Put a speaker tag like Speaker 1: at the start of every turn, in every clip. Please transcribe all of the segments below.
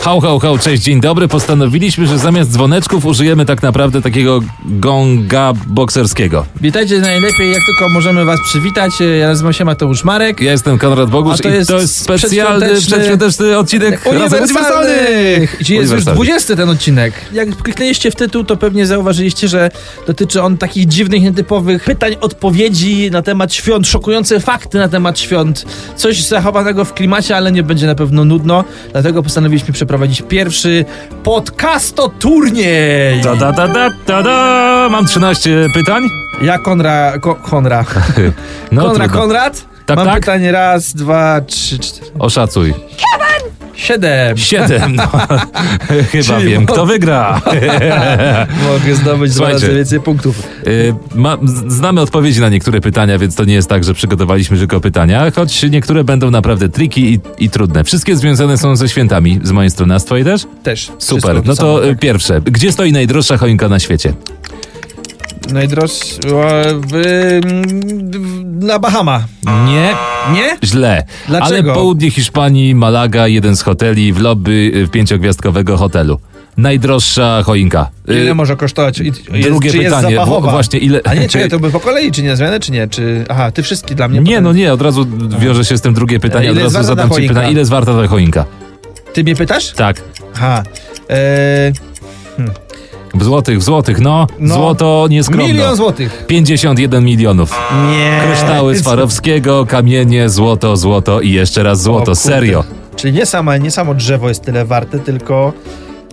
Speaker 1: Hał, hał, hał, cześć, dzień dobry. Postanowiliśmy, że zamiast dzwoneczków użyjemy tak naprawdę takiego gonga bokserskiego.
Speaker 2: Witajcie najlepiej, jak tylko możemy was przywitać. Ja nazywam się Mateusz Marek.
Speaker 1: Ja jestem Konrad Bogusz
Speaker 2: A to
Speaker 1: i
Speaker 2: jest
Speaker 1: to jest specjalny,
Speaker 2: przedświąteczny-
Speaker 1: przedświąteczny odcinek Razy Uniwersalnych.
Speaker 2: Gdzie jest już
Speaker 1: Uniwersalnych.
Speaker 2: 20 ten odcinek. Jak kliknęliście w tytuł, to pewnie zauważyliście, że dotyczy on takich dziwnych, nietypowych pytań, odpowiedzi na temat świąt, szokujące fakty na temat świąt. Coś zachowanego w klimacie, ale nie będzie na pewno nudno. Dlatego postanowiliśmy przeprowadzić pierwszy podcasto turniej.
Speaker 1: Ta, ta, ta, ta, ta, ta. Mam 13 pytań.
Speaker 2: Ja Konra, ko, Konra.
Speaker 1: No
Speaker 2: Konra,
Speaker 1: trudno.
Speaker 2: Konrad.
Speaker 1: Tak,
Speaker 2: Mam
Speaker 1: tak.
Speaker 2: pytanie raz, dwa, trzy, cztery.
Speaker 1: Oszacuj.
Speaker 2: Siedem.
Speaker 1: 7. No. Chyba
Speaker 2: Czyli
Speaker 1: wiem,
Speaker 2: mo-
Speaker 1: kto wygra.
Speaker 2: Mogę zdobyć dwa razy
Speaker 1: Słuchajcie.
Speaker 2: więcej punktów.
Speaker 1: Y, Ma, z- znamy odpowiedzi na niektóre pytania, więc to nie jest tak, że przygotowaliśmy tylko pytania, choć niektóre będą naprawdę triki i, i trudne. Wszystkie związane są ze świętami z mojej strony, a z twojej też?
Speaker 2: Też. Wszystko tak.
Speaker 1: Super,
Speaker 2: to
Speaker 1: no
Speaker 2: samo,
Speaker 1: to y, pierwsze. Gdzie stoi najdroższa choinka na świecie?
Speaker 2: tak. Najdroższy... e, W, mm, w- na Bahama.
Speaker 1: Nie.
Speaker 2: Nie?
Speaker 1: Źle.
Speaker 2: Dlaczego?
Speaker 1: Ale południe Hiszpanii, Malaga, jeden z hoteli w lobby y, pięciogwiazdkowego hotelu. Najdroższa choinka. Y,
Speaker 2: Ile może kosztować? I- Jest,
Speaker 1: drugie
Speaker 2: czy
Speaker 1: pytanie,
Speaker 2: Jest zapachowa?
Speaker 1: wo- właśnie, ile-
Speaker 2: A nie, czekaj, to by po kolei, czy nie na zmianę, czy nie? Czy... Aha, ty wszystkie dla mnie.
Speaker 1: Nie,
Speaker 2: potem-
Speaker 1: no nie, od razu wiąże się z tym drugie pytanie,
Speaker 2: Ile
Speaker 1: od
Speaker 2: jest
Speaker 1: razu
Speaker 2: warta ta
Speaker 1: zadam ci
Speaker 2: choinka?
Speaker 1: pytanie. Ile jest warta ta choinka?
Speaker 2: Ty mnie pytasz?
Speaker 1: Tak.
Speaker 2: Aha. E,
Speaker 1: W złotych, w złotych, no.
Speaker 2: No.
Speaker 1: Złoto nieskromno.
Speaker 2: milion Eee, złotych.
Speaker 1: 51 milionów.
Speaker 2: Nie.
Speaker 1: Kryształy Swarowskiego, kamienie, złoto, złoto i jeszcze raz
Speaker 2: O
Speaker 1: złoto.
Speaker 2: kurde.
Speaker 1: Serio.
Speaker 2: Czyli nie, sama, nie samo drzewo jest tyle warte, tylko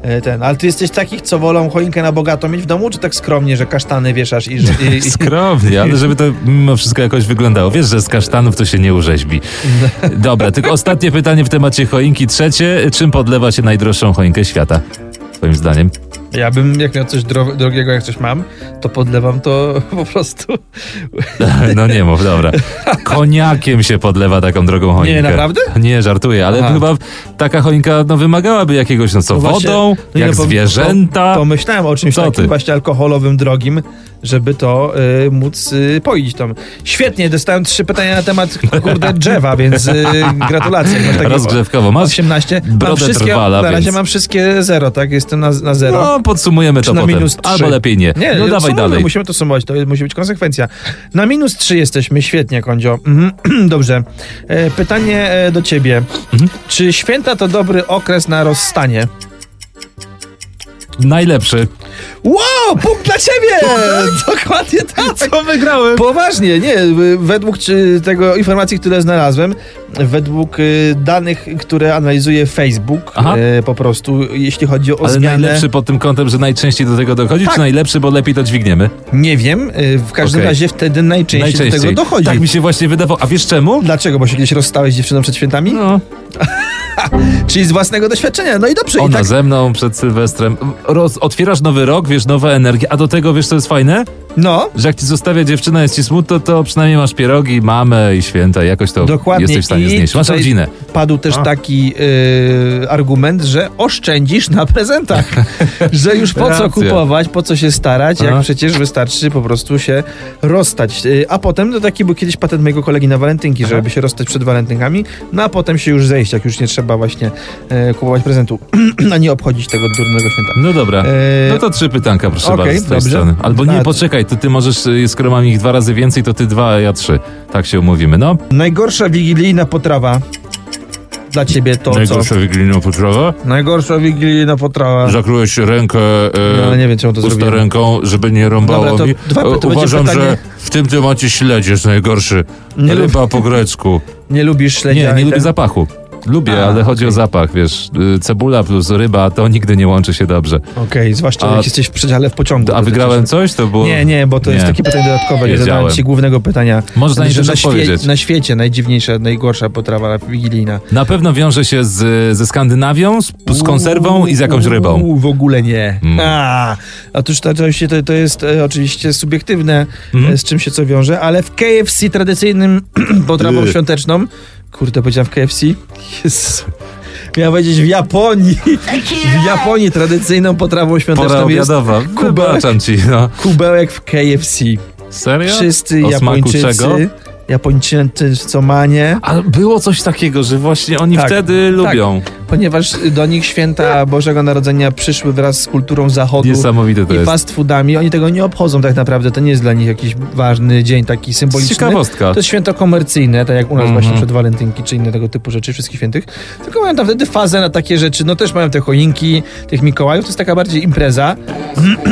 Speaker 2: e, ten. Ale ty jesteś takich, co wolą choinkę na bogato mieć w domu, czy tak skromnie, że kasztany wieszasz i... i, i
Speaker 1: Skromnie, ale żeby to mimo wszystko jakoś wyglądało. Wiesz, że z kasztanów to się nie urzeźbi. Dobra, tylko ostatnie pytanie w temacie choinki. Trzecie, czym podlewa się najdroższą choinkę świata? Twoim zdaniem.
Speaker 2: Ja bym, jak miał coś dro- drogiego, jak coś mam, to podlewam to po prostu.
Speaker 1: No nie mów, dobra. Koniakiem się podlewa taką drogą choinkę.
Speaker 2: Nie, naprawdę?
Speaker 1: Nie, żartuję, ale
Speaker 2: Aha.
Speaker 1: chyba taka choinka no, wymagałaby jakiegoś, no co,
Speaker 2: No właśnie,
Speaker 1: wodą,
Speaker 2: no
Speaker 1: jak
Speaker 2: ja pom-
Speaker 1: zwierzęta.
Speaker 2: Pomyślałem o czymś
Speaker 1: Co
Speaker 2: takim
Speaker 1: ty?
Speaker 2: właśnie alkoholowym, drogim, żeby to y, móc y, poić tam. Świetnie, dostałem trzy pytania na temat, kurde, drzewa, więc y, gratulacje. Masz takie
Speaker 1: Rozgrzewkowo. Masz
Speaker 2: 18. Mam
Speaker 1: Brodę
Speaker 2: wszystkie,
Speaker 1: trwala,
Speaker 2: na razie
Speaker 1: więc-
Speaker 2: mam wszystkie zero, tak? Jestem na, na zero.
Speaker 1: No, podsumujemy
Speaker 2: Czy
Speaker 1: to
Speaker 2: na
Speaker 1: potem.
Speaker 2: minus 3?
Speaker 1: Albo lepiej nie.
Speaker 2: Nie,
Speaker 1: no dawaj
Speaker 2: sumujmy,
Speaker 1: dalej.
Speaker 2: Musimy to sumować, to musi być konsekwencja. Na minus 3 jesteśmy, świetnie, Kondzio. Mhm, Dobrze. E, pytanie e, do ciebie.
Speaker 1: Mhm.
Speaker 2: Czy święta to dobry okres na rozstanie?
Speaker 1: Najlepszy.
Speaker 2: Wow, punkt dla ciebie! Dokładnie tak!
Speaker 1: Co wygrałem?
Speaker 2: Poważnie, nie, w- według czy, tego informacji, które znalazłem, według y, danych, które analizuje Facebook,
Speaker 1: Aha.
Speaker 2: e, po prostu, jeśli chodzi o
Speaker 1: Ale
Speaker 2: zmianę...
Speaker 1: najlepszy pod tym kątem, że najczęściej do tego dochodzi,
Speaker 2: Tak.
Speaker 1: czy najlepszy, bo lepiej to dźwigniemy?
Speaker 2: Nie wiem, y, w każdym
Speaker 1: Okej.
Speaker 2: razie wtedy najczęściej, do tego dochodzi.
Speaker 1: Tak mi się właśnie wydawało. A wiesz czemu?
Speaker 2: Dlaczego? Bo się kiedyś rozstałeś z dziewczyną przed świętami?
Speaker 1: No,
Speaker 2: Czyli z własnego doświadczenia. No i dobrze, i
Speaker 1: ona
Speaker 2: tak.
Speaker 1: ze mną przed Sylwestrem. Roz, otwierasz nowy rok, wiesz, nowe energie, a do tego wiesz, co jest fajne?
Speaker 2: No,
Speaker 1: Że jak ci zostawia dziewczyna, jest ci smutno, to przynajmniej masz pierogi, mamę i święta, jakoś to
Speaker 2: Dokładnie.
Speaker 1: jesteś w stanie
Speaker 2: I
Speaker 1: znieść. Masz
Speaker 2: tutaj-
Speaker 1: rodzinę.
Speaker 2: padł też
Speaker 1: A.
Speaker 2: taki y, argument, że oszczędzisz na prezentach. że już po co
Speaker 1: Racja.
Speaker 2: kupować, po co się starać, jak
Speaker 1: Aha.
Speaker 2: przecież wystarczy po prostu się rozstać. Y, a potem, no taki był kiedyś patent mojego kolegi na walentynki,
Speaker 1: Aha.
Speaker 2: żeby się rozstać przed walentynkami, no a potem się już zejść, jak już nie trzeba właśnie y, kupować prezentu, a nie obchodzić tego durnego święta.
Speaker 1: No dobra.
Speaker 2: Y,
Speaker 1: No to trzy pytanka, proszę
Speaker 2: Okej,
Speaker 1: bardzo, z tej
Speaker 2: dobrze. Znaczy-
Speaker 1: strony. Albo nie,
Speaker 2: A,
Speaker 1: poczekaj, to ty możesz, y, skoro mam ich dwa razy więcej, to ty dwa, a ja trzy. Tak się umówimy, no.
Speaker 2: Najgorsza wigilijna potrawa dla ciebie to co?
Speaker 1: wigilijną potrawę?
Speaker 2: Najgorsza wigilijna potrawa.
Speaker 1: Zakryłeś rękę e,
Speaker 2: No, nie wiem, czemu to zrobiłem.
Speaker 1: ręką, żeby nie
Speaker 2: rąbało Dobra, to mi. dwa- to E, będzie uważam, pytanie- że
Speaker 1: w tym temacie śledź jest najgorszy.
Speaker 2: Nie Ryba
Speaker 1: po grecku.
Speaker 2: Nie lubisz
Speaker 1: Nie,
Speaker 2: śledzia?
Speaker 1: nie
Speaker 2: i tak-
Speaker 1: lubię
Speaker 2: ten-
Speaker 1: zapachu. Lubię,
Speaker 2: A,
Speaker 1: ale chodzi o zapach, wiesz, y, cebula plus ryba, to nigdy nie łączy się dobrze.
Speaker 2: Okej, zwłaszcza
Speaker 1: A-
Speaker 2: jak jesteś w przedziale w pociągu.
Speaker 1: A
Speaker 2: to
Speaker 1: wiedziałem
Speaker 2: przecież-
Speaker 1: coś? To było...
Speaker 2: Nie, nie, bo to jest
Speaker 1: Nie.
Speaker 2: takie pytanie dodatkowe, nie
Speaker 1: Wiedziałem.
Speaker 2: zadałem ci głównego pytania.
Speaker 1: Można
Speaker 2: Że
Speaker 1: im
Speaker 2: na,
Speaker 1: też powiedzieć.
Speaker 2: na świecie najdziwniejsza, najgorsza potrawa wigilijna.
Speaker 1: Na pewno wiąże się z, ze Skandynawią, z, z konserwą i z jakąś rybą.
Speaker 2: Uuu, w ogóle nie.
Speaker 1: Mm.
Speaker 2: A, otóż to, oczywiście to, to jest e, oczywiście subiektywne,
Speaker 1: Mhm.
Speaker 2: e, z czym się co wiąże, ale w KFC tradycyjnym potrawą
Speaker 1: Yy.
Speaker 2: świąteczną, kurde, powiedziałem w KFC, Jezu. Miałem powiedzieć w Japonii. W Japonii tradycyjną potrawą
Speaker 1: Pora
Speaker 2: świąteczną jest
Speaker 1: obiadowa. Wybaczam ci, no.
Speaker 2: kubełek w KFC.
Speaker 1: Serio?
Speaker 2: Wszyscy
Speaker 1: O smaku czego?
Speaker 2: Japończycy, Japończycy co manie,
Speaker 1: Ale było coś takiego, że właśnie oni
Speaker 2: Tak,
Speaker 1: wtedy lubią.
Speaker 2: ponieważ do nich święta Bożego Narodzenia przyszły wraz z kulturą zachodu.
Speaker 1: Niesamowite to
Speaker 2: I
Speaker 1: jest.
Speaker 2: fast foodami, oni tego nie obchodzą tak naprawdę, to nie jest dla nich jakiś ważny dzień taki
Speaker 1: To jest
Speaker 2: symboliczny.
Speaker 1: ciekawostka.
Speaker 2: To jest święto komercyjne, tak jak u nas
Speaker 1: Mhm.
Speaker 2: właśnie przed walentynki, czy inne tego typu rzeczy, wszystkich świętych. Tylko mają tam wtedy fazę na takie rzeczy, no też mają te choinki, tych Mikołajów, to jest taka bardziej impreza.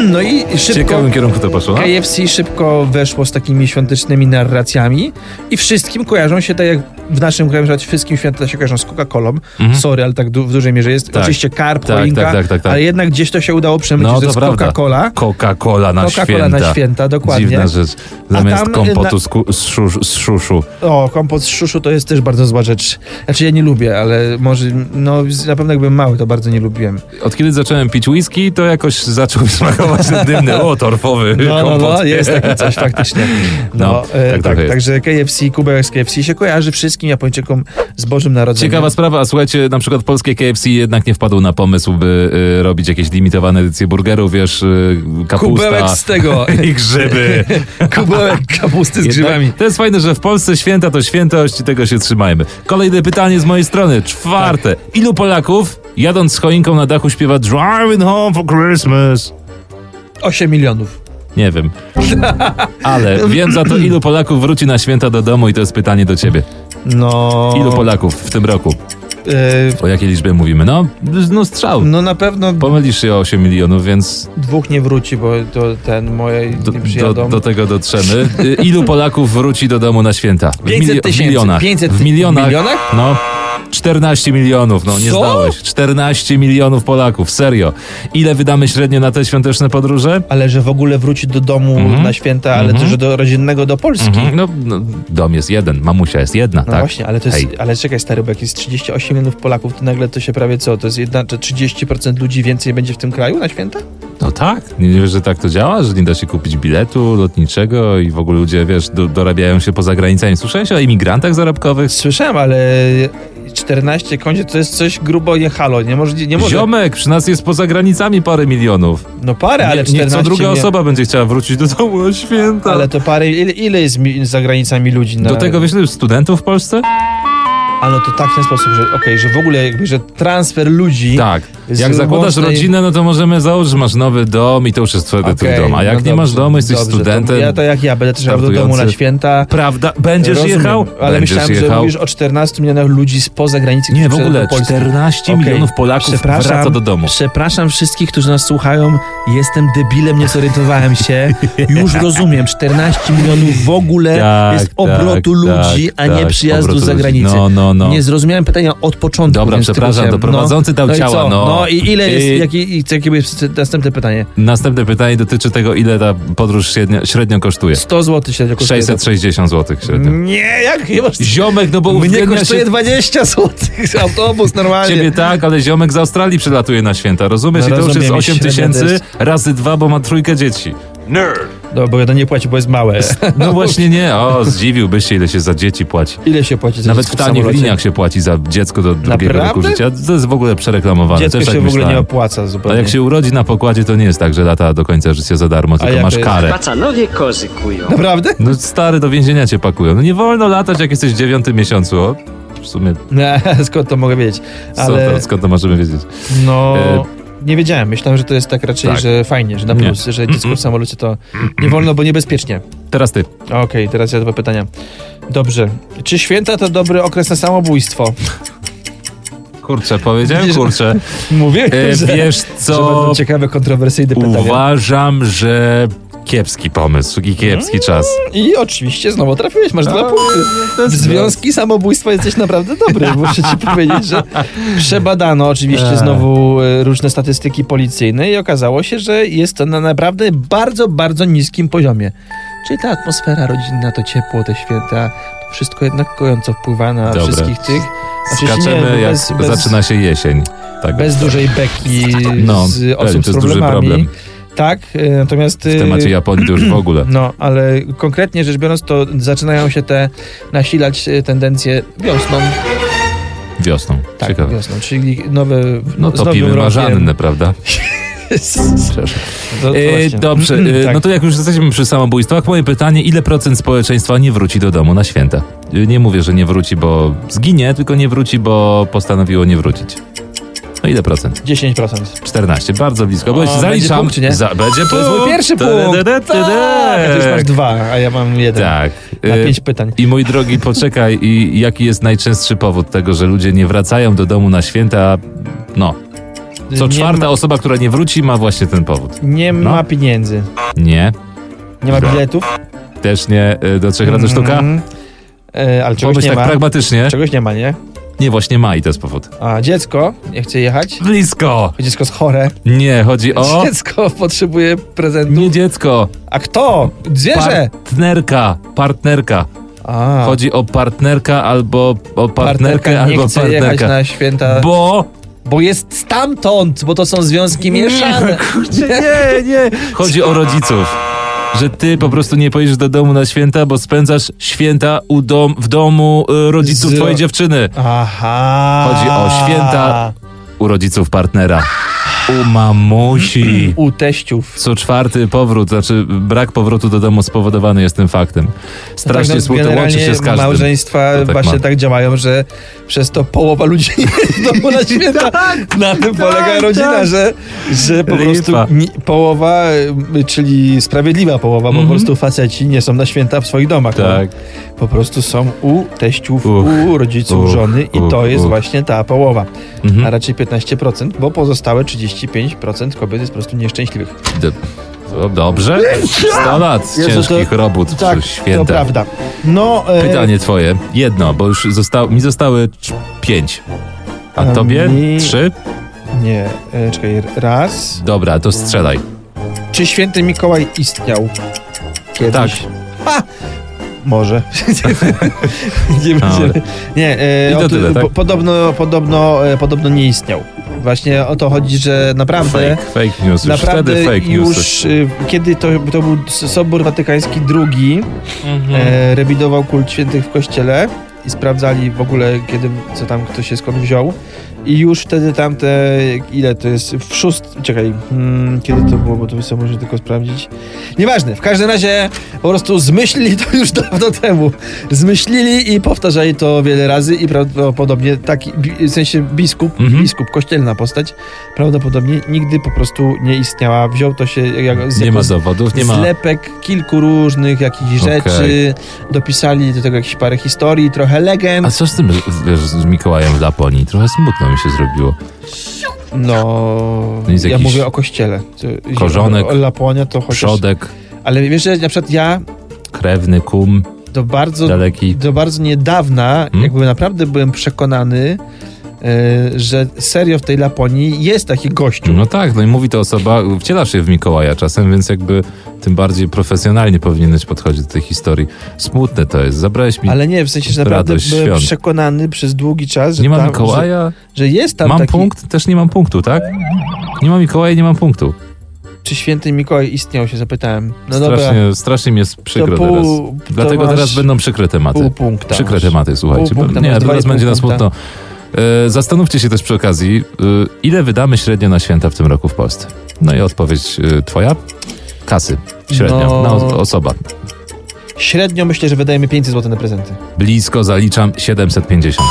Speaker 2: No i
Speaker 1: W
Speaker 2: szybko
Speaker 1: ciekawym kierunku to poszło. no.
Speaker 2: KFC szybko weszło z takimi świątecznymi narracjami i wszystkim kojarzą się, tak jak w naszym kraju, na przykład wszystkim święta się kojarzą z Coca-Colą.
Speaker 1: Mhm.
Speaker 2: Sorry, ale tak du- w dużej mierze jest.
Speaker 1: Tak.
Speaker 2: Oczywiście karp,
Speaker 1: Tak,
Speaker 2: choinka,
Speaker 1: tak, tak, tak, tak.
Speaker 2: ale jednak gdzieś to się udało przemycić,
Speaker 1: No,
Speaker 2: że
Speaker 1: to
Speaker 2: jest
Speaker 1: prawda.
Speaker 2: Coca-Cola.
Speaker 1: Coca-Cola na
Speaker 2: Coca-Cola
Speaker 1: święta.
Speaker 2: na święta, dokładnie.
Speaker 1: Dziwna rzecz. Zamiast
Speaker 2: tam, y,
Speaker 1: kompotu
Speaker 2: na-
Speaker 1: z, ku- z, szuszu, z szuszu.
Speaker 2: O, kompot z szuszu to jest też bardzo zła rzecz. Znaczy ja nie lubię, ale może, no z- na pewno jakbym mały, to bardzo nie lubiłem.
Speaker 1: Od kiedy zacząłem pić whisky, to jakoś zaczął mi smakować ten dymny, o, torfowy
Speaker 2: No, no,
Speaker 1: kompot.
Speaker 2: no, jest takie coś faktycznie. No,
Speaker 1: No,
Speaker 2: e,
Speaker 1: tak
Speaker 2: tak,
Speaker 1: trochę jest.
Speaker 2: także KFC, kubek z KFC się kojarzy wszystkim Japończykom z Bożym Narodzeniem.
Speaker 1: Ciekawa sprawa, a słuchajcie, na przykład polskie KFC jednak nie wpadło na pomysł, by y, robić jakieś limitowane edycje burgerów, wiesz, y,
Speaker 2: Kubełek
Speaker 1: kapusta
Speaker 2: z tego,
Speaker 1: i grzyby.
Speaker 2: kubełek kapusty z grzybami.
Speaker 1: Jednak To jest fajne, że w Polsce święta to świętość i tego się trzymajmy. Kolejne pytanie z mojej strony, czwarte.
Speaker 2: Tak.
Speaker 1: Ilu Polaków, jadąc z choinką na dachu, śpiewa Driving Home for Christmas?
Speaker 2: 8 milionów.
Speaker 1: Nie wiem. Ale wiem za to, ilu Polaków wróci na święta do domu i to jest pytanie do ciebie.
Speaker 2: No...
Speaker 1: Ilu Polaków w tym roku?
Speaker 2: e,
Speaker 1: O jakiej liczbie mówimy? No, no strzał.
Speaker 2: no na pewno
Speaker 1: Pomylisz się o 8 milionów, więc
Speaker 2: dwóch nie wróci, bo to ten moje
Speaker 1: do,
Speaker 2: nie
Speaker 1: do,
Speaker 2: przyjadą.
Speaker 1: do tego dotrzemy. Y, Ilu Polaków wróci do domu na święta? W
Speaker 2: 500
Speaker 1: milio- W
Speaker 2: tysięcy.
Speaker 1: milionach.
Speaker 2: 500
Speaker 1: w milionach.
Speaker 2: milionach?
Speaker 1: No. 14 milionów, no nie
Speaker 2: Co?
Speaker 1: zdałeś. 14 milionów Polaków, serio. Ile wydamy średnio na te świąteczne podróże?
Speaker 2: Ale że w ogóle wróci do domu
Speaker 1: Mhm.
Speaker 2: na święta, ale
Speaker 1: Mhm.
Speaker 2: też do rodzinnego, do Polski.
Speaker 1: Mhm, No, no, dom jest jeden, mamusia jest jedna,
Speaker 2: No
Speaker 1: tak?
Speaker 2: właśnie, ale to jest,
Speaker 1: Hej.
Speaker 2: ale czekaj stary, bo jak jest 38 milionów Polaków, to nagle to się prawie co, to jest jedna, czy 30% ludzi więcej będzie w tym kraju na święta?
Speaker 1: No tak, nie wiesz, że tak to działa, że nie da się kupić biletu lotniczego i w ogóle ludzie, wiesz, do, dorabiają się poza granicami. Słyszałeś o imigrantach zarobkowych?
Speaker 2: Słyszałem, ale 14 kondzie to jest coś grubo nie halo, nie może, nie może,
Speaker 1: Ziomek, przy nas jest poza granicami parę milionów.
Speaker 2: no parę,
Speaker 1: nie,
Speaker 2: ale
Speaker 1: nie
Speaker 2: 14
Speaker 1: co druga
Speaker 2: nie,
Speaker 1: osoba będzie chciała wrócić do domu na święta.
Speaker 2: Ale to parę, ile, ile jest mi, za granicami ludzi na...
Speaker 1: Do tego wiesz, ile już studentów w Polsce?
Speaker 2: A no to tak w ten sposób, że okej, że w ogóle jakby, że transfer ludzi...
Speaker 1: Tak.
Speaker 2: z
Speaker 1: Jak zakładasz
Speaker 2: łącznej-
Speaker 1: rodzinę, no to możemy założyć, że masz nowy dom i to już jest wtedy twój
Speaker 2: Okej,
Speaker 1: dom. A jak
Speaker 2: no
Speaker 1: nie masz
Speaker 2: dobrze,
Speaker 1: domu, jesteś
Speaker 2: dobrze, to
Speaker 1: studentem.
Speaker 2: Ja to jak ja, będę też jechał do domu na
Speaker 1: startujący.
Speaker 2: święta...
Speaker 1: Prawda? Będziesz
Speaker 2: Rozumiem,
Speaker 1: jechał?
Speaker 2: Ale
Speaker 1: Będziesz
Speaker 2: myślałem, że
Speaker 1: jechał.
Speaker 2: mówisz o 14 milionach ludzi spoza granicy.
Speaker 1: Nie, w
Speaker 2: którzy
Speaker 1: ogóle
Speaker 2: przyjadą do Polski.
Speaker 1: 14
Speaker 2: Okej.
Speaker 1: milionów Polaków
Speaker 2: Przepraszam.
Speaker 1: wraca do domu.
Speaker 2: Przepraszam wszystkich, którzy nas słuchają. Jestem debilem, nie zorientowałem się. Już rozumiem, 14 milionów w ogóle
Speaker 1: Tak,
Speaker 2: E, jest
Speaker 1: tak,
Speaker 2: obrotu
Speaker 1: tak,
Speaker 2: ludzi, a nie
Speaker 1: tak,
Speaker 2: przyjazdu
Speaker 1: obrotu
Speaker 2: za
Speaker 1: ludzi.
Speaker 2: granicę.
Speaker 1: No, no, no.
Speaker 2: Nie zrozumiałem pytania od początku.
Speaker 1: Dobra,
Speaker 2: więc tylko
Speaker 1: przepraszam,
Speaker 2: chciałem-
Speaker 1: to prowadzący dał
Speaker 2: no, no i
Speaker 1: ciała,
Speaker 2: co?
Speaker 1: no.
Speaker 2: No i ile jest,
Speaker 1: I-
Speaker 2: jakie, i- jakie jest następne pytanie?
Speaker 1: Następne pytanie dotyczy tego, ile ta podróż średnio, średnio kosztuje.
Speaker 2: 100 zł się kosztuje.
Speaker 1: 660 zł średnio.
Speaker 2: Nie, jak chyba...
Speaker 1: Ziomek, no bo
Speaker 2: Mm. Mnie
Speaker 1: uwzględnia
Speaker 2: kosztuje
Speaker 1: się
Speaker 2: 20 zł autobus normalnie.
Speaker 1: ciebie tak, ale ziomek z Australii przylatuje na święta, rozumiesz?
Speaker 2: No
Speaker 1: I to już jest
Speaker 2: rozumiem,
Speaker 1: 8
Speaker 2: średnia to
Speaker 1: tysięcy
Speaker 2: jest-
Speaker 1: razy dwa, bo ma trójkę dzieci.
Speaker 2: No, bo jeden nie płaci, bo jest małe.
Speaker 1: No właśnie nie, o, zdziwiłbyś się, ile się za dzieci płaci.
Speaker 2: Ile się płaci za
Speaker 1: Nawet
Speaker 2: dziecko
Speaker 1: w tanich
Speaker 2: samolocie?
Speaker 1: liniach się płaci za dziecko do drugiego roku
Speaker 2: Naprawdę?
Speaker 1: życia. To jest w ogóle przereklamowane.
Speaker 2: Dziecko
Speaker 1: Też
Speaker 2: się
Speaker 1: tak
Speaker 2: w ogóle nie
Speaker 1: myślałem.
Speaker 2: opłaca
Speaker 1: A
Speaker 2: zupełnie.
Speaker 1: jak się urodzi na pokładzie, to nie jest tak, że lata do końca życia za darmo, tylko
Speaker 2: jak
Speaker 1: masz
Speaker 2: to jest?
Speaker 1: karę.
Speaker 3: Pacanowie kozy kują.
Speaker 2: Naprawdę?
Speaker 1: No stary, do więzienia cię pakują. No nie wolno latać, jak jesteś w dziewiątym miesiącu. O, w sumie,
Speaker 2: Nie, skąd to mogę wiedzieć?
Speaker 1: co
Speaker 2: Ale
Speaker 1: to, skąd to możemy wiedzieć?
Speaker 2: no...
Speaker 1: E,
Speaker 2: Nie wiedziałem, myślałem, że to jest tak raczej,
Speaker 1: tak.
Speaker 2: że fajnie, że na
Speaker 1: Nie.
Speaker 2: plus, że dziecko w samolocie to nie wolno, bo niebezpiecznie.
Speaker 1: Teraz ty.
Speaker 2: Okej, teraz ja dwa pytania. Dobrze. Czy święta to dobry okres na samobójstwo?
Speaker 1: Kurczę, powiedziałem
Speaker 2: Widzisz-
Speaker 1: kurczę.
Speaker 2: Mówię,
Speaker 1: E,
Speaker 2: że,
Speaker 1: wiesz
Speaker 2: że
Speaker 1: co,
Speaker 2: będą ciekawe, kontrowersyjne pytania.
Speaker 1: uważam, że kiepski pomysł i
Speaker 2: Mm.
Speaker 1: kiepski czas.
Speaker 2: I oczywiście znowu trafiłeś, masz dwa punkty. W związki samobójstwa jesteś naprawdę dobry. Muszę ci powiedzieć, że przebadano oczywiście
Speaker 1: Tak.
Speaker 2: znowu e, różne statystyki policyjne i okazało się, że jest to na naprawdę bardzo, bardzo niskim poziomie. Czyli ta atmosfera rodzinna, to ciepło, te święta, to wszystko jednak kojąco wpływa na
Speaker 1: Dobra.
Speaker 2: wszystkich tych. Oczywiście Znaczy, nie, no
Speaker 1: Skaczemy, jak
Speaker 2: bez- bez-
Speaker 1: zaczyna się jesień. Tak,
Speaker 2: Bez dużej beki
Speaker 1: No,
Speaker 2: z
Speaker 1: pewnie, to
Speaker 2: osób z
Speaker 1: jest duży
Speaker 2: problemami.
Speaker 1: problem.
Speaker 2: Tak, e, natomiast...
Speaker 1: w temacie Japonii to już w ogóle.
Speaker 2: No, ale konkretnie rzecz biorąc, to zaczynają się te nasilać e, tendencje wiosną.
Speaker 1: Wiosną.
Speaker 2: Tak,
Speaker 1: Ciekawe.
Speaker 2: wiosną, czyli nowe.
Speaker 1: No
Speaker 2: z nowym
Speaker 1: topimy
Speaker 2: rokiem.
Speaker 1: marzannę, prawda?
Speaker 2: To- to
Speaker 1: E,
Speaker 2: właśnie.
Speaker 1: dobrze, e,
Speaker 2: Tak.
Speaker 1: no to jak już jesteśmy przy samobójstwach, moje pytanie, ile procent społeczeństwa nie wróci do domu na Yy, święta? E, Nie mówię, że nie wróci, bo zginie, tylko nie wróci, bo postanowiło nie wrócić. No ile procent?
Speaker 2: 10%.
Speaker 1: 14, bardzo blisko. Byłeś,
Speaker 2: O,
Speaker 1: zaliczam.
Speaker 2: będzie punkt, nie?
Speaker 1: Za, będzie punkt.
Speaker 2: To jest mój pierwszy
Speaker 1: Da, da,
Speaker 2: punkt.
Speaker 1: da, da,
Speaker 2: Tak, a ty już masz dwa, a ja mam jeden.
Speaker 1: Tak.
Speaker 2: Na
Speaker 1: Y,
Speaker 2: pięć pytań.
Speaker 1: I mój drogi, poczekaj, i jaki jest najczęstszy powód tego, że ludzie nie wracają do domu na święta? No, co
Speaker 2: nie
Speaker 1: czwarta
Speaker 2: Ma,
Speaker 1: osoba, która nie wróci, ma właśnie ten powód.
Speaker 2: nie
Speaker 1: No.
Speaker 2: ma pieniędzy.
Speaker 1: Nie,
Speaker 2: Nie ma
Speaker 1: Źle.
Speaker 2: biletów.
Speaker 1: też nie y, do trzech razy sztuka.
Speaker 2: Mm. E, ale czegoś
Speaker 1: Pomyśl
Speaker 2: nie
Speaker 1: tak
Speaker 2: ma.
Speaker 1: pragmatycznie.
Speaker 2: Czegoś nie ma, nie?
Speaker 1: Nie, właśnie ma i to jest powód.
Speaker 2: A dziecko nie chce jechać.
Speaker 1: Blisko!
Speaker 2: Dziecko jest chore.
Speaker 1: Nie, chodzi o...
Speaker 2: Dziecko potrzebuje prezentu.
Speaker 1: Nie dziecko,
Speaker 2: A kto? Zwierzę!
Speaker 1: partnerka, partnerka.
Speaker 2: A,
Speaker 1: Chodzi o partnerka albo o partnerkę
Speaker 2: partnerka nie
Speaker 1: albo
Speaker 2: chce jechać
Speaker 1: partnerka.
Speaker 2: na święta, bo,
Speaker 1: Bo
Speaker 2: jest stamtąd, bo to są związki
Speaker 1: Nie,
Speaker 2: mieszane.
Speaker 1: Kurczę, nie, nie. Chodzi o rodziców. Że ty po prostu nie pojedziesz do domu na święta, bo spędzasz święta u dom, w domu y, rodziców
Speaker 2: Z-
Speaker 1: twojej dziewczyny.
Speaker 2: Aha.
Speaker 1: Chodzi o święta. U rodziców partnera. U mamusi.
Speaker 2: U teściów.
Speaker 1: Co czwarty powrót, znaczy brak powrotu do domu spowodowany jest tym faktem. Strasznie
Speaker 2: no,
Speaker 1: smutno, łączy się z
Speaker 2: generalnie
Speaker 1: każdym.
Speaker 2: Małżeństwa
Speaker 1: To tak
Speaker 2: właśnie
Speaker 1: ma.
Speaker 2: tak działają, że przez to połowa ludzi nie jest w domu na święta. na tym polega
Speaker 1: tak,
Speaker 2: rodzina,
Speaker 1: tak.
Speaker 2: Że, że po
Speaker 1: Lipa.
Speaker 2: prostu ni- połowa, y, czyli sprawiedliwa połowa, bo po
Speaker 1: Mhm.
Speaker 2: prostu faceci nie są na święta w swoich domach.
Speaker 1: Tak.
Speaker 2: No. Po prostu są u teściów,
Speaker 1: Uch,
Speaker 2: u rodziców,
Speaker 1: uch,
Speaker 2: żony i
Speaker 1: uch,
Speaker 2: to jest
Speaker 1: uch.
Speaker 2: właśnie ta połowa. A
Speaker 1: Mhm.
Speaker 2: raczej 15%, bo pozostałe 35% kobiet jest po prostu nieszczęśliwych.
Speaker 1: D- o, Dobrze? 100 lat
Speaker 2: Jezu, to-
Speaker 1: ciężkich robót
Speaker 2: Tak,
Speaker 1: przez święta.
Speaker 2: to prawda. No, e,
Speaker 1: Pytanie twoje. Jedno, bo już został, mi zostały cz- pięć. A
Speaker 2: A
Speaker 1: tobie?
Speaker 2: mi-
Speaker 1: Trzy?
Speaker 2: Nie, e, czekaj, raz.
Speaker 1: Dobra, to strzelaj.
Speaker 2: Czy święty Mikołaj istniał? Kiedyś?
Speaker 1: Tak.
Speaker 2: Ha! Może. nie będziemy. Nie, e,
Speaker 1: I to
Speaker 2: o, tu-
Speaker 1: tyle, tak?
Speaker 2: po, podobno, podobno, e, podobno nie istniał. Właśnie o to chodzi, że naprawdę.
Speaker 1: Fake, fake news. Już
Speaker 2: Naprawdę
Speaker 1: wtedy fake news.
Speaker 2: już e, kiedy to, to był Sobór Watykański II, e, rewidował kult świętych w kościele i sprawdzali w ogóle, kiedy, co tam kto się skąd wziął. I już wtedy tamte, ile to jest, w szóst... czekaj, hmm, kiedy to było, bo to sobie może tylko sprawdzić. Nieważne, w każdym razie po prostu zmyślili to już dawno temu. Zmyślili i powtarzali to wiele razy i prawdopodobnie taki, bi- w sensie biskup,
Speaker 1: Mhm.
Speaker 2: biskup, kościelna postać, prawdopodobnie nigdy po prostu nie istniała. Wziął to się jak, z
Speaker 1: Nie ma
Speaker 2: jakąś
Speaker 1: dowodów, nie ma...
Speaker 2: zlepek kilku różnych
Speaker 1: Okej.
Speaker 2: jakichś rzeczy, dopisali do tego jakieś parę historii, trochę
Speaker 1: A
Speaker 2: legend.
Speaker 1: co z tym wiesz, z Mikołajem w Laponii? Trochę smutno mi się zrobiło.
Speaker 2: No,
Speaker 1: To jest
Speaker 2: ja
Speaker 1: jakiś
Speaker 2: mówię o kościele. To-
Speaker 1: korzonek,
Speaker 2: o- o Laponia to chociaż...
Speaker 1: Przodek,
Speaker 2: Ale wiesz, że na przykład ja
Speaker 1: krewny, kum,
Speaker 2: do bardzo,
Speaker 1: daleki.
Speaker 2: do bardzo niedawna,
Speaker 1: Hmm?
Speaker 2: jakby naprawdę byłem przekonany, e, że serio w tej Laponii jest taki gościu.
Speaker 1: No tak, no i mówi to osoba, wcielasz się w Mikołaja czasem, więc jakby tym bardziej profesjonalnie powinieneś podchodzić do tej historii. Smutne to jest, zabrałeś mi...
Speaker 2: Ale nie, w sensie, że naprawdę
Speaker 1: Radość
Speaker 2: byłem
Speaker 1: świąt.
Speaker 2: przekonany przez długi czas, że,
Speaker 1: nie ma
Speaker 2: tam, że,
Speaker 1: Mikołaja?
Speaker 2: że jest tam
Speaker 1: mam
Speaker 2: taki...
Speaker 1: punkt? Też nie mam punktu, tak? Nie mam Mikołaja, nie mam punktu.
Speaker 2: Czy święty Mikołaj istniał, się zapytałem. No dobra,
Speaker 1: strasznie, strasznie mi jest przykro
Speaker 2: pół-
Speaker 1: teraz.
Speaker 2: to
Speaker 1: Dlatego
Speaker 2: masz
Speaker 1: teraz będą przykre tematy.
Speaker 2: pół punkta.
Speaker 1: Przykre tematy, słuchajcie.
Speaker 2: Pół punkta,
Speaker 1: nie,
Speaker 2: masz dwa
Speaker 1: teraz
Speaker 2: i pół
Speaker 1: będzie nas
Speaker 2: punkta.
Speaker 1: smutno. E, zastanówcie się też przy okazji, e, ile wydamy średnio na święta w tym roku w Polsce? No i odpowiedź e, twoja? Kasy. Średnio.
Speaker 2: No.
Speaker 1: Na o- osoba.
Speaker 2: Średnio myślę, że wydajemy 500 zł na prezenty.
Speaker 1: Blisko zaliczam 750.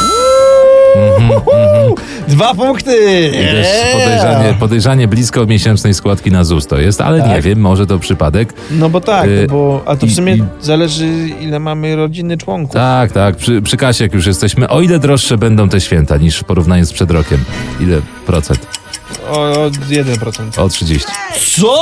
Speaker 1: Mhm, mhm.
Speaker 2: Dwa punkty!
Speaker 1: I też podejrzanie, podejrzanie blisko miesięcznej składki na ZUS to jest, ale nie
Speaker 2: Tak.
Speaker 1: wiem, może to przypadek.
Speaker 2: No bo tak,
Speaker 1: Y,
Speaker 2: no bo, a to w
Speaker 1: i-
Speaker 2: sumie
Speaker 1: i-
Speaker 2: zależy ile mamy rodziny członków.
Speaker 1: Tak, tak, przy, przy kasie jak już jesteśmy. O ile droższe będą te święta niż w porównaniu z przed rokiem? Ile procent?
Speaker 2: O, o 1%.
Speaker 1: O 30.
Speaker 2: Co?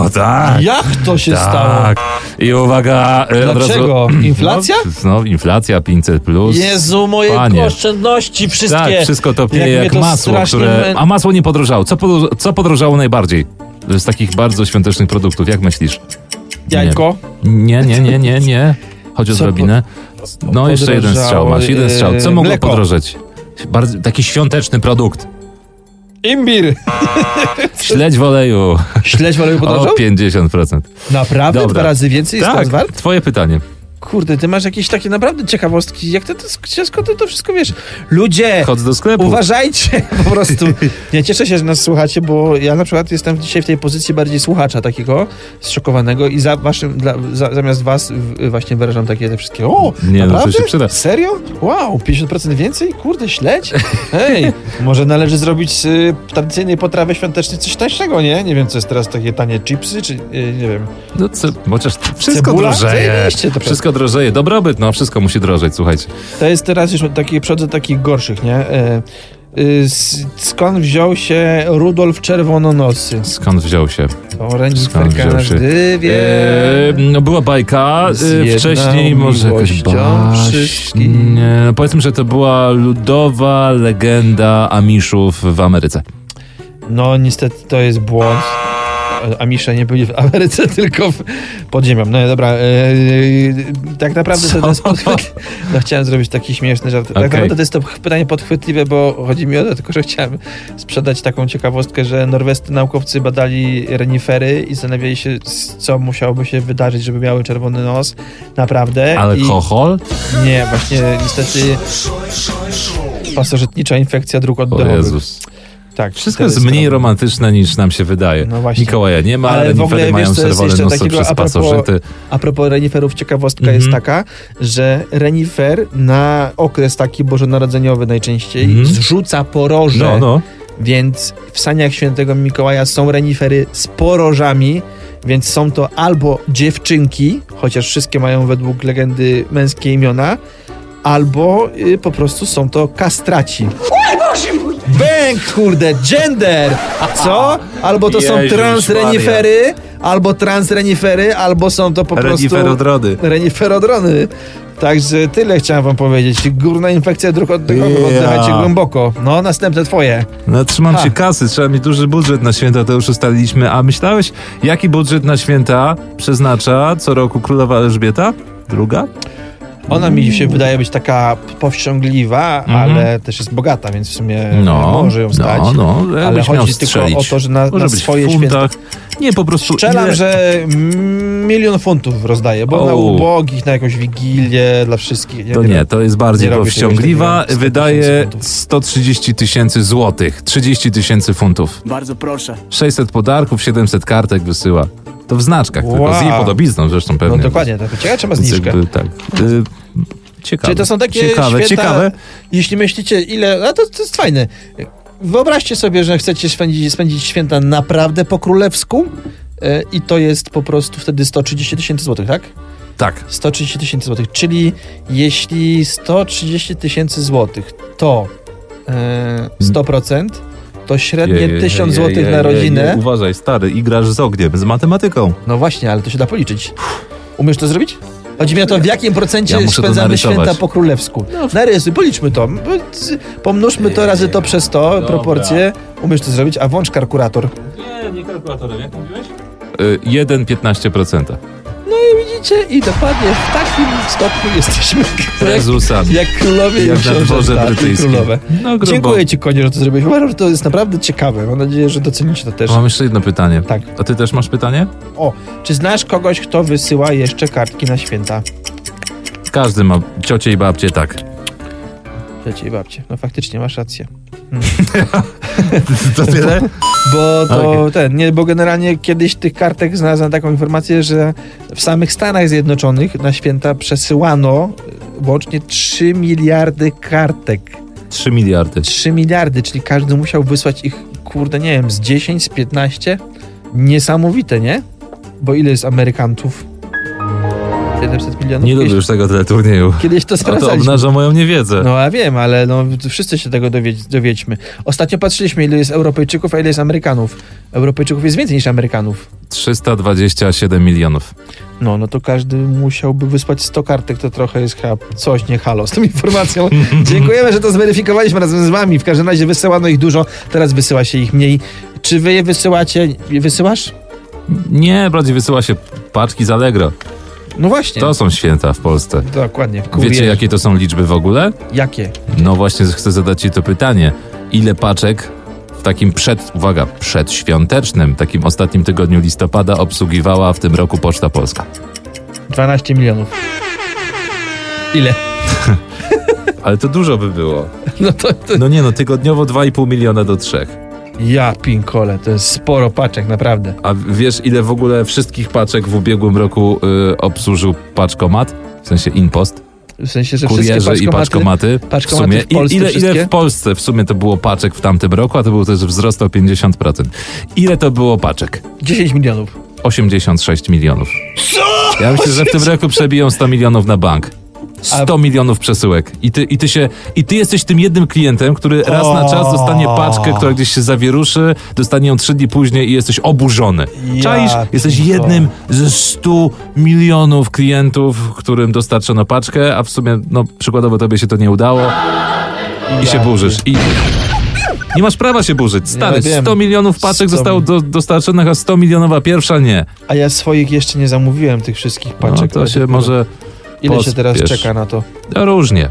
Speaker 1: O tak!
Speaker 2: Jak to się stało?
Speaker 1: Tak. I uwaga, e, od razu...
Speaker 2: Dlaczego? Inflacja?
Speaker 1: No, no, inflacja 500 plus.
Speaker 2: Jezu, moje
Speaker 1: Panie.
Speaker 2: oszczędności wszystkie.
Speaker 1: Tak, wszystko topnieje
Speaker 2: Jak
Speaker 1: jak,
Speaker 2: mnie to
Speaker 1: masło,
Speaker 2: strasznie
Speaker 1: które...
Speaker 2: mę-
Speaker 1: A masło nie podrożało. Co, podro... Co podrożało najbardziej? Z takich bardzo świątecznych produktów, jak myślisz?
Speaker 2: Jajko.
Speaker 1: Nie, nie, nie, nie, nie. Chodzi o
Speaker 2: Co po-
Speaker 1: drabinę. No, jeszcze jeden
Speaker 2: podrożało,
Speaker 1: strzał masz, jeden strzał. Co
Speaker 2: e,
Speaker 1: mogło
Speaker 2: mleko.
Speaker 1: podrożeć? Bardzo, taki świąteczny produkt.
Speaker 2: Imbir.
Speaker 1: Śledź w oleju.
Speaker 2: Śledź w oleju
Speaker 1: O
Speaker 2: podrożał?
Speaker 1: 50%.
Speaker 2: Naprawdę?
Speaker 1: Dobra.
Speaker 2: Dwa razy więcej jest
Speaker 1: tak,
Speaker 2: to wart?
Speaker 1: twoje pytanie.
Speaker 2: Kurde, ty masz jakieś takie naprawdę ciekawostki. Jak ty, to sk- skąd ty to wszystko wiesz? Ludzie,
Speaker 1: Chodź do sklepu.
Speaker 2: uważajcie po prostu. Ja cieszę się, że nas słuchacie, bo ja na przykład jestem dzisiaj w tej pozycji bardziej słuchacza takiego, zszokowanego i za waszym, dla, za, zamiast was w, właśnie wyrażam takie te wszystkie o,
Speaker 1: Nie, no, to
Speaker 2: naprawdę?
Speaker 1: się przyda.
Speaker 2: Serio? Wow, 50% więcej? Kurde, śledź? Ej, może należy zrobić y, tradycyjnej potrawy świątecznej coś tańszego, nie? Nie wiem, co jest teraz takie tanie chipsy, czy y, nie wiem.
Speaker 1: No co, chociaż wszystko
Speaker 2: Cebula?
Speaker 1: drożeje.
Speaker 2: Zajebiście to
Speaker 1: Wszystko drożeje. Dobrobyt, no wszystko musi drożeć, słuchajcie.
Speaker 2: To jest teraz już taki przod do takich gorszych, nie? E, y, s- skąd wziął się Rudolf Czerwononosy?
Speaker 1: Skąd wziął się?
Speaker 2: Orędzik
Speaker 1: Skąd wziął
Speaker 2: Ferkana
Speaker 1: się?
Speaker 2: Dywie.
Speaker 1: Eee, no była bajka,
Speaker 2: Z
Speaker 1: eee,
Speaker 2: jedną
Speaker 1: wcześniej może jakaś
Speaker 2: miłością
Speaker 1: baśń.
Speaker 2: wszystkich.
Speaker 1: Nie, No powiedzmy, że to była ludowa legenda Amiszów w Ameryce.
Speaker 2: No niestety to jest błąd. E, Amisze nie byli w Ameryce, tylko w podziemiach. No dobra, e, tak naprawdę
Speaker 1: Co?
Speaker 2: to jest podchwytliwe. No chciałem zrobić taki śmieszny żart.
Speaker 1: Okej.
Speaker 2: Tak naprawdę to jest to ch- pytanie podchwytliwe, bo chodzi mi o to, tylko że chciałem sprzedać taką ciekawostkę, że norwescy naukowcy badali renifery i zastanawiali się, s- co musiałoby się wydarzyć, żeby miały czerwony nos. Naprawdę. E, I
Speaker 1: Alkohol?
Speaker 2: Nie, właśnie niestety pasożytnicza infekcja dróg
Speaker 1: O
Speaker 2: oddechowych.
Speaker 1: Jezus.
Speaker 2: Tak,
Speaker 1: Wszystko
Speaker 2: to
Speaker 1: jest mniej romantyczne niż nam się wydaje.
Speaker 2: No właśnie.
Speaker 1: Mikołaja nie ma,
Speaker 2: Ale
Speaker 1: ale
Speaker 2: w ogóle
Speaker 1: renifery
Speaker 2: wiesz,
Speaker 1: mają
Speaker 2: co jest
Speaker 1: czerwone
Speaker 2: jeszcze
Speaker 1: nosy
Speaker 2: takiego
Speaker 1: przez
Speaker 2: a propos-
Speaker 1: pasożyty.
Speaker 2: A propos reniferów, ciekawostka
Speaker 1: Mhm.
Speaker 2: jest taka, że renifer na okres taki bożonarodzeniowy najczęściej
Speaker 1: Mhm.
Speaker 2: zrzuca poroże,
Speaker 1: No, no.
Speaker 2: więc w saniach świętego Mikołaja są renifery z porożami, więc są to albo dziewczynki, chociaż wszystkie mają według legendy męskie imiona, albo y, po prostu są to kastraci. Bęk, kurde, gender! Co? Albo to są
Speaker 1: Jezus
Speaker 2: transrenifery, albo transrenifery, albo są to po prostu...
Speaker 1: Reniferodrody.
Speaker 2: Reniferodrony. Także tyle chciałem wam powiedzieć. Górna infekcja dróg oddechowych.
Speaker 1: Ja.
Speaker 2: Oddychajcie głęboko. No, następne twoje.
Speaker 1: No trzymam
Speaker 2: Ha.
Speaker 1: się kasy, trzeba mieć duży budżet na święta, to już ustaliliśmy. A myślałeś, jaki budżet na święta przeznacza co roku królowa Elżbieta? Druga?
Speaker 2: Ona mi się wydaje być taka powściągliwa,
Speaker 1: Mhm.
Speaker 2: ale też jest bogata, więc w sumie
Speaker 1: No,
Speaker 2: może ją stać.
Speaker 1: no, no,
Speaker 2: ale
Speaker 1: jakbyś miał
Speaker 2: chodzi
Speaker 1: strzelić.
Speaker 2: tylko o to, że na,
Speaker 1: Może
Speaker 2: na
Speaker 1: być
Speaker 2: swoje
Speaker 1: w
Speaker 2: święta...
Speaker 1: funtach. Nie, po prostu
Speaker 2: Strzelam,
Speaker 1: ile...
Speaker 2: że mm, milion funtów rozdaje, bo na
Speaker 1: O.
Speaker 2: ubogich, na jakąś wigilię, dla wszystkich. Ja
Speaker 1: To nie, to jest bardziej
Speaker 2: Nie robię czegoś
Speaker 1: powściągliwa.
Speaker 2: takiego. 100
Speaker 1: Wydaje
Speaker 2: tysięcy funtów.
Speaker 1: 130 tysięcy złotych. 30 tysięcy funtów.
Speaker 3: Bardzo proszę.
Speaker 1: 600 podarków, 700 kartek wysyła. To w znaczkach tylko,
Speaker 2: Wow.
Speaker 1: z jej podobizną zresztą
Speaker 2: No
Speaker 1: pewnie.
Speaker 2: dokładnie, tak. Ciekawe, czy ma
Speaker 1: Więc
Speaker 2: zniżkę.
Speaker 1: jakby tak. Y, Ciekawe.
Speaker 2: Czyli to są takie
Speaker 1: ciekawe,
Speaker 2: święta,
Speaker 1: ciekawe.
Speaker 2: Jeśli myślicie, ile. A to, to jest fajne. Wyobraźcie sobie, że chcecie spędzić, spędzić święta naprawdę po królewsku. e, I to jest po prostu wtedy 130 tysięcy złotych, tak?
Speaker 1: Tak.
Speaker 2: 130 tysięcy złotych, czyli jeśli 130 tysięcy złotych to
Speaker 1: Hmm.
Speaker 2: e, 100%, to średnie 1000 złotych na rodzinę.
Speaker 1: Uważaj, stary, i grasz z ogniem, z matematyką.
Speaker 2: No właśnie, ale to się da policzyć. Umiesz to zrobić? Chodzi mi o to, w jakim procencie
Speaker 1: Ja muszę to
Speaker 2: spędzamy
Speaker 1: narysować. No,
Speaker 2: święta po królewsku. Narysuj, policzmy to. Pomnóżmy to razy to przez to,
Speaker 1: Dobra.
Speaker 2: proporcje. Umiesz to zrobić, a włącz kalkulator.
Speaker 1: Nie, nie kalkulatorem, jak mówiłeś? Y, 1,15%.
Speaker 2: Widzicie? I dokładnie w takim stopniu jesteśmy jak,
Speaker 1: Jezusami.
Speaker 2: jak królowie i
Speaker 1: Jak na dworze
Speaker 2: książęta i
Speaker 1: brytyjskim.
Speaker 2: królowe.
Speaker 1: No grubo.
Speaker 2: Dziękuję ci, Konio, że to zrobiłeś. Uważam, że to jest naprawdę ciekawe. Mam nadzieję, że docenicie to też.
Speaker 1: Mam jeszcze jedno pytanie.
Speaker 2: Tak.
Speaker 1: A ty też masz pytanie?
Speaker 2: O, czy znasz kogoś, kto wysyła jeszcze kartki na święta?
Speaker 1: Każdy ma ciocie i babcie, tak.
Speaker 2: Dzieci i babcie. No faktycznie, masz rację.
Speaker 1: To tyle?
Speaker 2: Bo to
Speaker 1: Okej.
Speaker 2: ten, nie, bo generalnie kiedyś tych kartek znalazłem taką informację, że w samych Stanach Zjednoczonych na święta przesyłano y, łącznie 3 miliardy kartek.
Speaker 1: 3 miliardy.
Speaker 2: 3 miliardy, czyli każdy musiał wysłać ich, kurde, nie wiem, z 10, z 15. Niesamowite, nie? Bo ile jest Amerykantów? 700 milionów.
Speaker 1: Nie lubię
Speaker 2: kiedyś,
Speaker 1: już tego teleturnieju.
Speaker 2: kiedyś to
Speaker 1: A to
Speaker 2: sprawdzaliśmy.
Speaker 1: obnaża moją niewiedzę.
Speaker 2: No ja wiem, ale no, wszyscy się tego dowiedz, dowiedźmy. Ostatnio patrzyliśmy, ile jest Europejczyków, a ile jest Amerykanów. Europejczyków jest więcej niż Amerykanów.
Speaker 1: 327 milionów.
Speaker 2: No, no to każdy musiałby wysłać 100 kartek, to trochę jest chyba coś nie halo z tą informacją. Dziękujemy, że to zweryfikowaliśmy razem z wami. W każdym razie wysyłano ich dużo, teraz wysyła się ich mniej. Czy wy je wysyłacie? Wysyłasz?
Speaker 1: Nie, bardziej wysyła się paczki z Allegro.
Speaker 2: No właśnie.
Speaker 1: To są święta w Polsce.
Speaker 2: Dokładnie.
Speaker 1: Wiecie,
Speaker 2: Kurier.
Speaker 1: jakie to są liczby w ogóle?
Speaker 2: Jakie?
Speaker 1: No właśnie, chcę zadać Ci to pytanie. Ile paczek w takim przed, uwaga, przedświątecznym, takim ostatnim tygodniu listopada obsługiwała w tym roku Poczta Polska?
Speaker 2: 12 milionów. Ile?
Speaker 1: Ale to dużo by było.
Speaker 2: No to, to...
Speaker 1: No nie no, tygodniowo 2,5 miliona do 3.
Speaker 2: Ja pinkole, to jest sporo paczek, naprawdę.
Speaker 1: A wiesz, ile w ogóle wszystkich paczek w ubiegłym roku y, obsłużył paczkomat? W sensie impost,
Speaker 2: W sensie, że
Speaker 1: kurierzy
Speaker 2: wszystkie
Speaker 1: i paczkomaty. w
Speaker 2: paczkomaty
Speaker 1: sumie.
Speaker 2: w Polsce
Speaker 1: I- ile, ile
Speaker 2: wszystkie?
Speaker 1: w Polsce w sumie to było paczek w tamtym roku, a to był też wzrost o 50%. Ile to było paczek?
Speaker 2: 10 milionów.
Speaker 1: 86 milionów. Co? Ja myślę, że w tym roku przebiją 100 milionów na bank. 100 milionów przesyłek. I ty, i, ty się, I ty jesteś tym jednym klientem, który raz na czas dostanie paczkę, która gdzieś się zawieruszy, dostanie ją 3 dni później i jesteś oburzony.
Speaker 2: Ja
Speaker 1: Czaisz? Jesteś
Speaker 2: pierdolę.
Speaker 1: jednym ze 100 milionów klientów, którym dostarczono paczkę, a w sumie, no przykładowo tobie się to nie udało i się burzysz. I... Nie masz prawa się burzyć, stary.
Speaker 2: Ja wiem.
Speaker 1: 100 milionów paczek
Speaker 2: 100
Speaker 1: zostało do, dostarczonych, a 100 milionowa pierwsza nie.
Speaker 2: A ja swoich jeszcze nie zamówiłem, tych wszystkich paczek.
Speaker 1: No, to się może
Speaker 2: Ile się teraz
Speaker 1: pospiesz.
Speaker 2: czeka na to?
Speaker 1: no, różnie.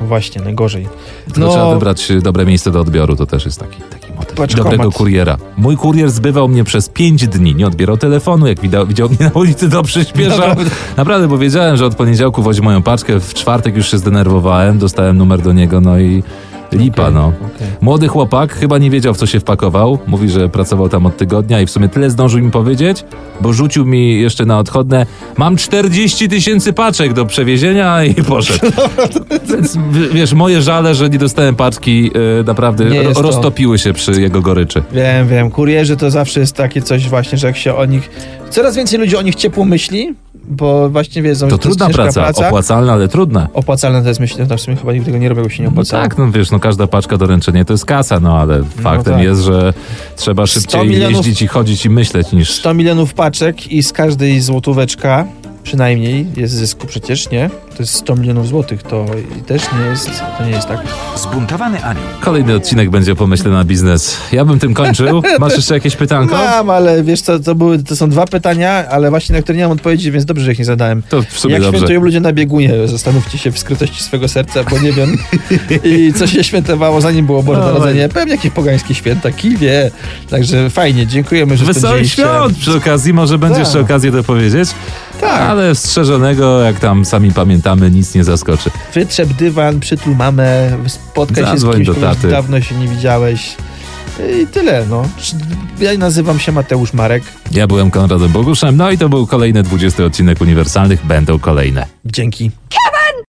Speaker 2: Właśnie, najgorzej. No,
Speaker 1: Tylko trzeba wybrać y, dobre miejsce do odbioru, to też jest taki, taki motyw. I
Speaker 2: Paczkomat.
Speaker 1: Dobrego kuriera. Mój kurier zbywał mnie przez 5 dni, nie odbierał telefonu, jak widział, widział mnie na ulicy, to przyspieszał. Naprawdę.
Speaker 2: Naprawdę.
Speaker 1: bo wiedziałem, że od poniedziałku wozi moją paczkę, w czwartek już się zdenerwowałem, dostałem numer do niego, no i lipa,
Speaker 2: Okej,
Speaker 1: no.
Speaker 2: okej.
Speaker 1: Młody chłopak chyba nie wiedział, w co się wpakował. Mówi, że pracował tam od tygodnia i w sumie tyle zdążył mi powiedzieć, bo rzucił mi jeszcze na odchodne. Mam 40 tysięcy paczek do przewiezienia i poszedł. Więc w- wiesz, moje żale, że nie dostałem paczki, e, naprawdę
Speaker 2: Nie
Speaker 1: ro-
Speaker 2: jest to.
Speaker 1: roztopiły się przy jego goryczy.
Speaker 2: Wiem, wiem. Kurierzy to zawsze jest takie coś właśnie, że jak się o nich... Coraz więcej ludzi o nich ciepło myśli, bo właśnie wiedzą,
Speaker 1: To
Speaker 2: że to jest
Speaker 1: trudna
Speaker 2: ciężka
Speaker 1: praca,
Speaker 2: praca.
Speaker 1: opłacalna, ale trudna.
Speaker 2: Opłacalne to jest, myślę, że w sumie chyba nikt tego nie robił, bo się nie
Speaker 1: No
Speaker 2: opłacało.
Speaker 1: tak, no wiesz, no każda paczka doręczenia to jest kasa, no ale faktem
Speaker 2: tak.
Speaker 1: jest, że trzeba szybciej
Speaker 2: milionów-
Speaker 1: jeździć i chodzić i myśleć niż
Speaker 2: 100 milionów paczek i z każdej złotóweczka przynajmniej jest zysku przecież, nie? To jest 100 milionów złotych, to i też nie jest, to nie jest tak.
Speaker 3: Zbuntowany anioł.
Speaker 1: Kolejny odcinek będzie o pomyśle na biznes. Ja bym tym kończył. Masz jeszcze jakieś pytanko?
Speaker 2: Mam, ale wiesz co, to, były, to są dwa pytania, ale właśnie na które nie mam odpowiedzi, więc dobrze, że ich nie zadałem.
Speaker 1: To w sumie
Speaker 2: Jak
Speaker 1: dobrze.
Speaker 2: świętują ludzie na biegunie? Zastanówcie się w skrytości swego serca, bo nie wiem. I co się świętowało, zanim było
Speaker 1: No,
Speaker 2: Boże Narodzenie. Pewnie jakieś pogańskie święta, kilwie. Także fajnie, dziękujemy, że
Speaker 1: Wesołych
Speaker 2: spędziliście.
Speaker 1: świąt przy okazji, może będzie
Speaker 2: Tak.
Speaker 1: jeszcze okazję to powiedzieć.
Speaker 2: Tak.
Speaker 1: Ale strzeżonego, jak tam sami pamiętamy, nic nie zaskoczy.
Speaker 2: Wytrzep dywan, przytul mamę, spotkaj się z
Speaker 1: Zadzwoń
Speaker 2: kimś,
Speaker 1: do
Speaker 2: kogo już
Speaker 1: taty.
Speaker 2: dawno się nie widziałeś. I tyle, no. Ja nazywam się Mateusz Marek.
Speaker 1: Ja byłem Konradem Boguszem, no i to był kolejny 20 odcinek Uniwersalnych. Będą kolejne.
Speaker 2: Dzięki.